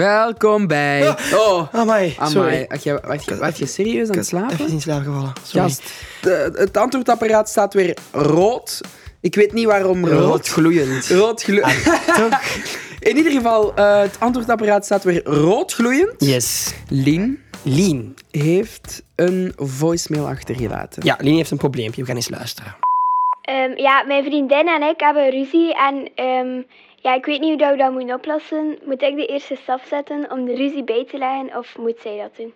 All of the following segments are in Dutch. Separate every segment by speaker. Speaker 1: Welkom bij. Oh,
Speaker 2: Amai,
Speaker 1: amai.
Speaker 2: Ah. sorry.
Speaker 1: Had je, had je, had je serieus aan het slapen?
Speaker 2: Even in slaap gevallen. Sorry.
Speaker 1: Gast, de- het antwoordapparaat staat weer rood. Ik weet niet waarom
Speaker 2: Rood
Speaker 1: rood.
Speaker 2: gloeiend.
Speaker 1: Rood gloeiend.
Speaker 2: Toch?
Speaker 1: In ieder geval, eh, het antwoordapparaat staat weer rood gloeiend.
Speaker 2: Yes.
Speaker 1: Lien
Speaker 2: Lien.
Speaker 1: heeft een voicemail achtergelaten.
Speaker 2: Ja, Lien heeft een probleempje. We gaan eens luisteren.
Speaker 3: Ehm, ja, mijn vriendin en ik hebben ruzie en ehm, ja, ik weet niet hoe dat we dat moeten oplossen. Moet ik de eerste stap zetten om de ruzie bij te leggen of moet zij dat doen?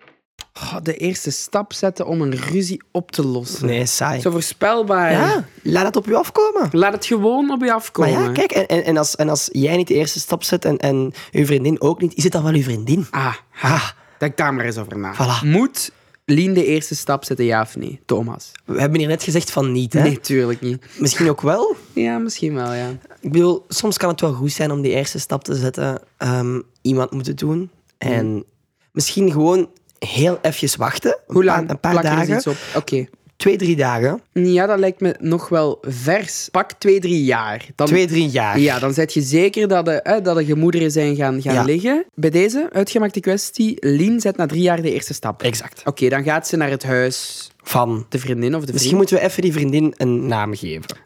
Speaker 1: Oh, de eerste stap zetten om een ruzie op te lossen.
Speaker 2: Nee, saai.
Speaker 1: Zo voorspelbaar.
Speaker 2: Ja, laat het op je afkomen.
Speaker 1: Laat het gewoon op je
Speaker 2: Maar
Speaker 1: afkomen.
Speaker 2: ja, kijk, en, en, en, als, en als jij niet de eerste stap zet en, en je vriendin ook niet, is het dan wel je vriendin?
Speaker 1: Ah,
Speaker 2: Ah,
Speaker 1: denk daar maar eens over na.
Speaker 2: Voilà.
Speaker 1: Moet Lien de eerste stap zetten, ja of nee? Thomas.
Speaker 2: we hebben hier net gezegd van niet, hè?
Speaker 1: Nee, tuurlijk niet.
Speaker 2: Misschien ook wel.
Speaker 1: Ja, misschien wel, ja.
Speaker 2: Ik bedoel, soms kan het wel goed zijn om die eerste stap te zetten. Ehm, iemand moet het doen.
Speaker 1: Hmm.
Speaker 2: En misschien gewoon heel even wachten. Een
Speaker 1: Hoe
Speaker 2: paar-
Speaker 1: lang?
Speaker 2: Een paar
Speaker 1: plak er eens
Speaker 2: dagen.
Speaker 1: iets op? Oké.
Speaker 2: Twee, drie dagen.
Speaker 1: Ja, dat lijkt me nog wel vers. Pak twee, drie jaar. Dan,
Speaker 2: Twee, drie jaar.
Speaker 1: Ja, dan zet je zeker dat de, hè, dat de gemoederen zijn gaan, gaan
Speaker 2: Ja.
Speaker 1: liggen. Bij deze uitgemaakte kwestie, Lien zet na drie jaar de eerste stap.
Speaker 2: Exact.
Speaker 1: Oké, dan gaat ze naar het huis,
Speaker 2: Van.
Speaker 1: de vriendin of de
Speaker 2: Misschien
Speaker 1: vriend.
Speaker 2: moeten we even die vriendin een naam geven.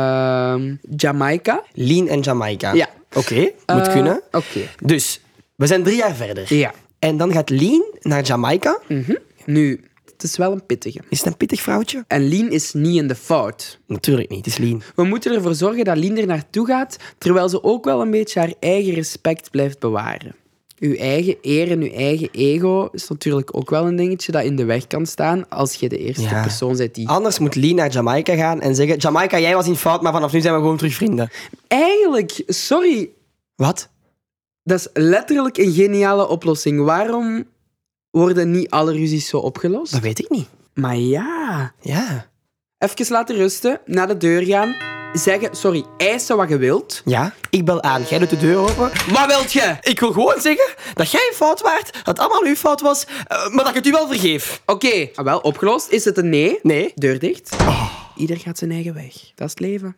Speaker 1: Ehm, Jamaica.
Speaker 2: Lean en Jamaica.
Speaker 1: Ja.
Speaker 2: Oké, moet
Speaker 1: Eh,
Speaker 2: kunnen.
Speaker 1: Oké.
Speaker 2: Dus, we zijn drie jaar verder.
Speaker 1: Ja.
Speaker 2: En dan gaat Lean naar Jamaica.
Speaker 1: Nu, het is wel een pittige.
Speaker 2: Is het een pittig vrouwtje?
Speaker 1: En Lien is niet in de fout.
Speaker 2: Natuurlijk niet, het is Lean.
Speaker 1: We moeten ervoor zorgen dat Lien er naartoe gaat, terwijl ze ook wel een beetje haar eigen respect blijft bewaren. Uw eigen eer en uw eigen ego is natuurlijk ook wel een dingetje dat in de weg kan staan als je de eerste
Speaker 2: Ja.
Speaker 1: persoon bent die...
Speaker 2: Anders moet Lean naar Jamaica gaan en zeggen... Jamaica, jij was in fout, maar vanaf nu zijn we gewoon terug vrienden.
Speaker 1: Eigenlijk, sorry,
Speaker 2: Wat?
Speaker 1: dat is letterlijk een geniale oplossing. Waarom worden niet alle ruzies zo opgelost?
Speaker 2: Dat weet ik niet.
Speaker 1: Maar ja...
Speaker 2: Ja.
Speaker 1: Even laten rusten, naar de deur gaan, zeggen, sorry, eisen wat je wilt.
Speaker 2: Ja? Ik bel aan, jij doet de deur open.
Speaker 1: Wat wilt je?
Speaker 2: Ik wil gewoon zeggen dat jij fout waart, dat het allemaal uw fout was, eh, maar dat ik het u wel vergeef.
Speaker 1: Oké, ah, wel opgelost. Is het een nee?
Speaker 2: Nee.
Speaker 1: Deur dicht.
Speaker 2: Oh.
Speaker 1: Ieder gaat zijn eigen weg. Dat is het leven.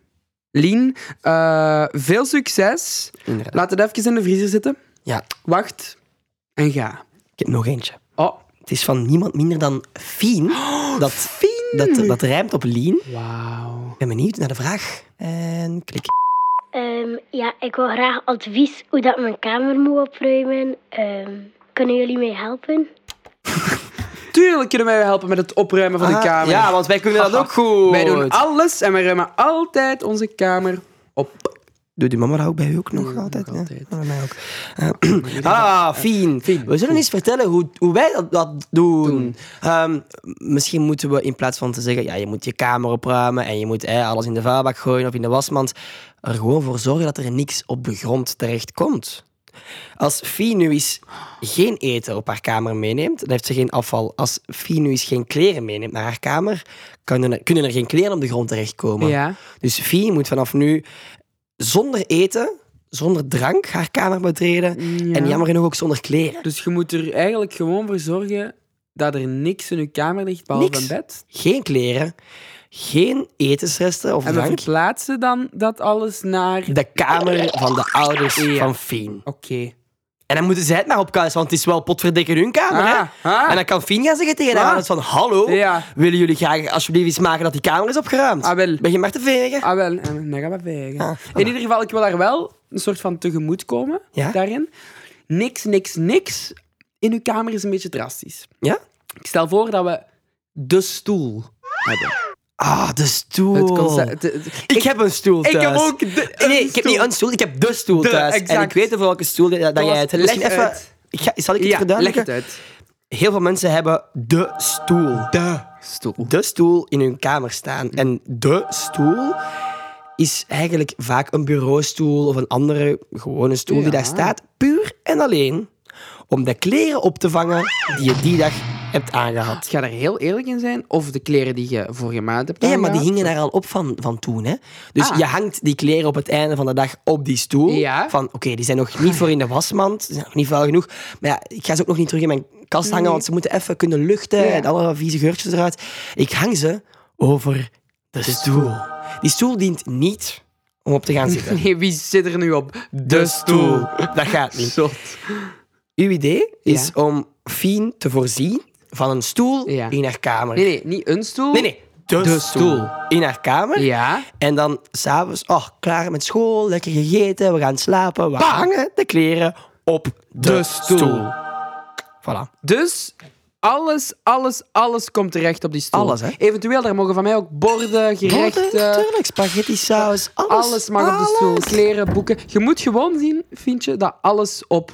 Speaker 1: Lien, eh, veel succes.
Speaker 2: Inderdaad.
Speaker 1: Laat het even in de vriezer zitten.
Speaker 2: Ja,
Speaker 1: Wacht en ga.
Speaker 2: ik heb nog eentje.
Speaker 1: Oh,
Speaker 2: Het is van niemand minder dan Fien. dat, Fien! Dat, dat rijmt op Lean.
Speaker 1: wauw.
Speaker 2: Ik ben benieuwd naar de vraag. En klik.
Speaker 3: Ehm, ja, ik wil graag advies hoe dat mijn kamer moet opruimen. Ehm, kunnen jullie mij helpen?
Speaker 1: Tuurlijk kunnen wij je helpen met het opruimen van de kamer.
Speaker 2: Ah, Ja, want wij kunnen dat ook goed.
Speaker 1: Wij doen alles en wij ruimen altijd onze kamer op.
Speaker 2: Doet uw mama dat ook bij u ook nog altijd?
Speaker 1: nog
Speaker 2: ja?
Speaker 1: altijd.
Speaker 2: Ja, bij mij ook. Eh, ah, Fien. We zullen eens vertellen hoe, hoe wij dat, dat doen. Ehm, misschien moeten we in plaats van te zeggen... Ja, je moet je kamer opruimen en je moet eh, alles in de vuilbak gooien of in de wasmand... er gewoon voor zorgen dat er niks op de grond terecht komt. Als Fien nu eens geen eten op haar kamer meeneemt, dan heeft ze geen afval. Als Fien nu eens geen kleren meeneemt naar haar kamer, kunnen er, kunnen er geen kleren op de grond terechtkomen.
Speaker 1: Ja.
Speaker 2: Dus Fien moet vanaf nu zonder eten, zonder drank haar kamer betreden. En jammer genoeg ook zonder kleren.
Speaker 1: Dus je moet er eigenlijk gewoon voor zorgen dat er niks in je kamer ligt, behalve
Speaker 2: Niks.
Speaker 1: een bed.
Speaker 2: Geen kleren, geen etensresten of
Speaker 1: En we
Speaker 2: drank.
Speaker 1: verplaatsen dan dat alles naar...
Speaker 2: De kamer van de ouders van Fien.
Speaker 1: Oké.
Speaker 2: En dan moeten zij het maar opkuisen, want het is wel potverdikke hun kamer. hè?
Speaker 1: Ah, ah.
Speaker 2: En dan kan Fien gaan zeggen tegen haar
Speaker 1: Ah.
Speaker 2: ouders van... Hallo,
Speaker 1: Ja.
Speaker 2: willen jullie graag alsjeblieft eens maken dat die kamer is opgeruimd?
Speaker 1: Ah, wel.
Speaker 2: Begin maar te vegen.
Speaker 1: Ah, wel. En dan gaan we vegen.
Speaker 2: Ah,
Speaker 1: In ieder geval, ik wil daar wel een soort van tegemoet komen
Speaker 2: Ja?
Speaker 1: daarin. Niks, niks, niks in uw kamer is een beetje drastisch.
Speaker 2: Ja?
Speaker 1: Ik stel voor dat we de stoel hebben.
Speaker 2: Ah, de stoel.
Speaker 1: Het concept- het- het-
Speaker 2: Ik, heb een stoel
Speaker 1: ik
Speaker 2: thuis.
Speaker 1: heb ook de- een
Speaker 2: Nee, ik heb
Speaker 1: stoel.
Speaker 2: niet een stoel, ik heb de stoel
Speaker 1: De,
Speaker 2: thuis. En
Speaker 1: exact.
Speaker 2: ik weet over welke stoel dat, dat jij
Speaker 1: was-
Speaker 2: het
Speaker 1: leg
Speaker 2: Misschien even...
Speaker 1: uit.
Speaker 2: Ik ga, zal ik het
Speaker 1: ja, leg
Speaker 2: verduidelijken?
Speaker 1: het uit.
Speaker 2: Heel veel mensen hebben de stoel. De.
Speaker 1: Stoel.
Speaker 2: De stoel in hun kamer staan. En de stoel is eigenlijk vaak een bureaustoel of een andere gewone stoel die daar
Speaker 1: Ja.
Speaker 2: staat. Puur en alleen om de kleren op te vangen die je die dag hebt aangehad.
Speaker 1: Ik Dus ga daar heel eerlijk in zijn. Of de kleren die je voor je maat hebt
Speaker 2: Ja, maar die
Speaker 1: aangehad.
Speaker 2: hingen daar al op van, van toen. Hè? Dus
Speaker 1: Ah.
Speaker 2: je hangt die kleren op het einde van de dag op die stoel.
Speaker 1: Ja.
Speaker 2: Van, oké, die zijn nog niet voor in de wasmand. Ze zijn nog niet vuil genoeg. Maar ja, ik ga ze ook nog niet terug in mijn kast hangen, want ze moeten even kunnen luchten.
Speaker 1: Ja.
Speaker 2: En alle vieze geurtjes eruit. Ik hang ze over de, stoel. Die stoel dient niet om op te gaan zitten.
Speaker 1: Nee, wie zit er nu op? De,
Speaker 2: Dat gaat niet.
Speaker 1: Zot.
Speaker 2: Uw idee is
Speaker 1: Ja.
Speaker 2: om Fien te voorzien van een stoel
Speaker 1: Ja.
Speaker 2: in haar kamer.
Speaker 1: Nee, nee, niet een stoel.
Speaker 2: Nee, nee. De,
Speaker 1: De
Speaker 2: stoel.
Speaker 1: stoel.
Speaker 2: In haar kamer.
Speaker 1: Ja.
Speaker 2: En dan s'avonds, oh, klaar met school, lekker gegeten, we gaan slapen. We hangen de kleren op de,
Speaker 1: De
Speaker 2: stoel.
Speaker 1: stoel.
Speaker 2: Voilà.
Speaker 1: Dus alles, alles, alles komt terecht op die stoel.
Speaker 2: Alles, hè?
Speaker 1: Eventueel, daar mogen van mij ook borden, gerechten...
Speaker 2: Borden, tuurlijk, spaghetti saus, alles.
Speaker 1: eh, Alles mag op de stoel.
Speaker 2: alles.
Speaker 1: Kleren, boeken. Je moet gewoon zien, Fientje, dat alles op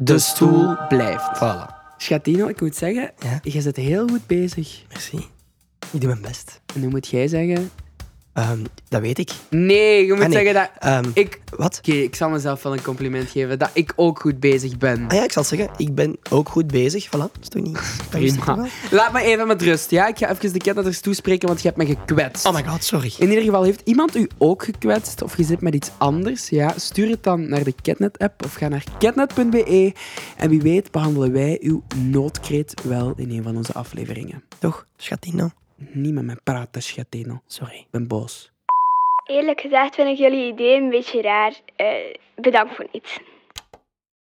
Speaker 1: de, stoel blijft.
Speaker 2: Voilà.
Speaker 1: Schatino, ik moet zeggen,
Speaker 2: Ja?
Speaker 1: je zit heel goed bezig.
Speaker 2: Merci. Ik doe mijn best.
Speaker 1: En nu moet jij zeggen...
Speaker 2: Ehm, dat weet ik.
Speaker 1: Nee, je moet
Speaker 2: Ah, nee.
Speaker 1: zeggen dat...
Speaker 2: Ehm,
Speaker 1: ik...
Speaker 2: Wat?
Speaker 1: Oké, ik zal mezelf wel een compliment geven dat ik ook goed bezig ben.
Speaker 2: Ah ja, ik zal het zeggen, ik ben ook goed bezig. Voilà, dat is toch niet... dat is toch
Speaker 1: Prima.
Speaker 2: wel?
Speaker 1: Laat me even met rust, ja? Ik ga even de kennis toespreken, want je hebt me gekwetst.
Speaker 2: Oh my god, sorry.
Speaker 1: In ieder geval, heeft iemand u ook gekwetst of je zit met iets anders? Ja, stuur het dan naar de Catnet-app of ga naar catnet.be. En wie weet behandelen wij uw noodkreet wel in een van onze afleveringen.
Speaker 2: Toch, nou. schatino?
Speaker 1: Niet met mijn praten, schatino. Ik
Speaker 2: Sorry.
Speaker 1: ben boos.
Speaker 3: Eerlijk gezegd vind ik jullie idee een beetje raar. Eh, bedankt voor niets.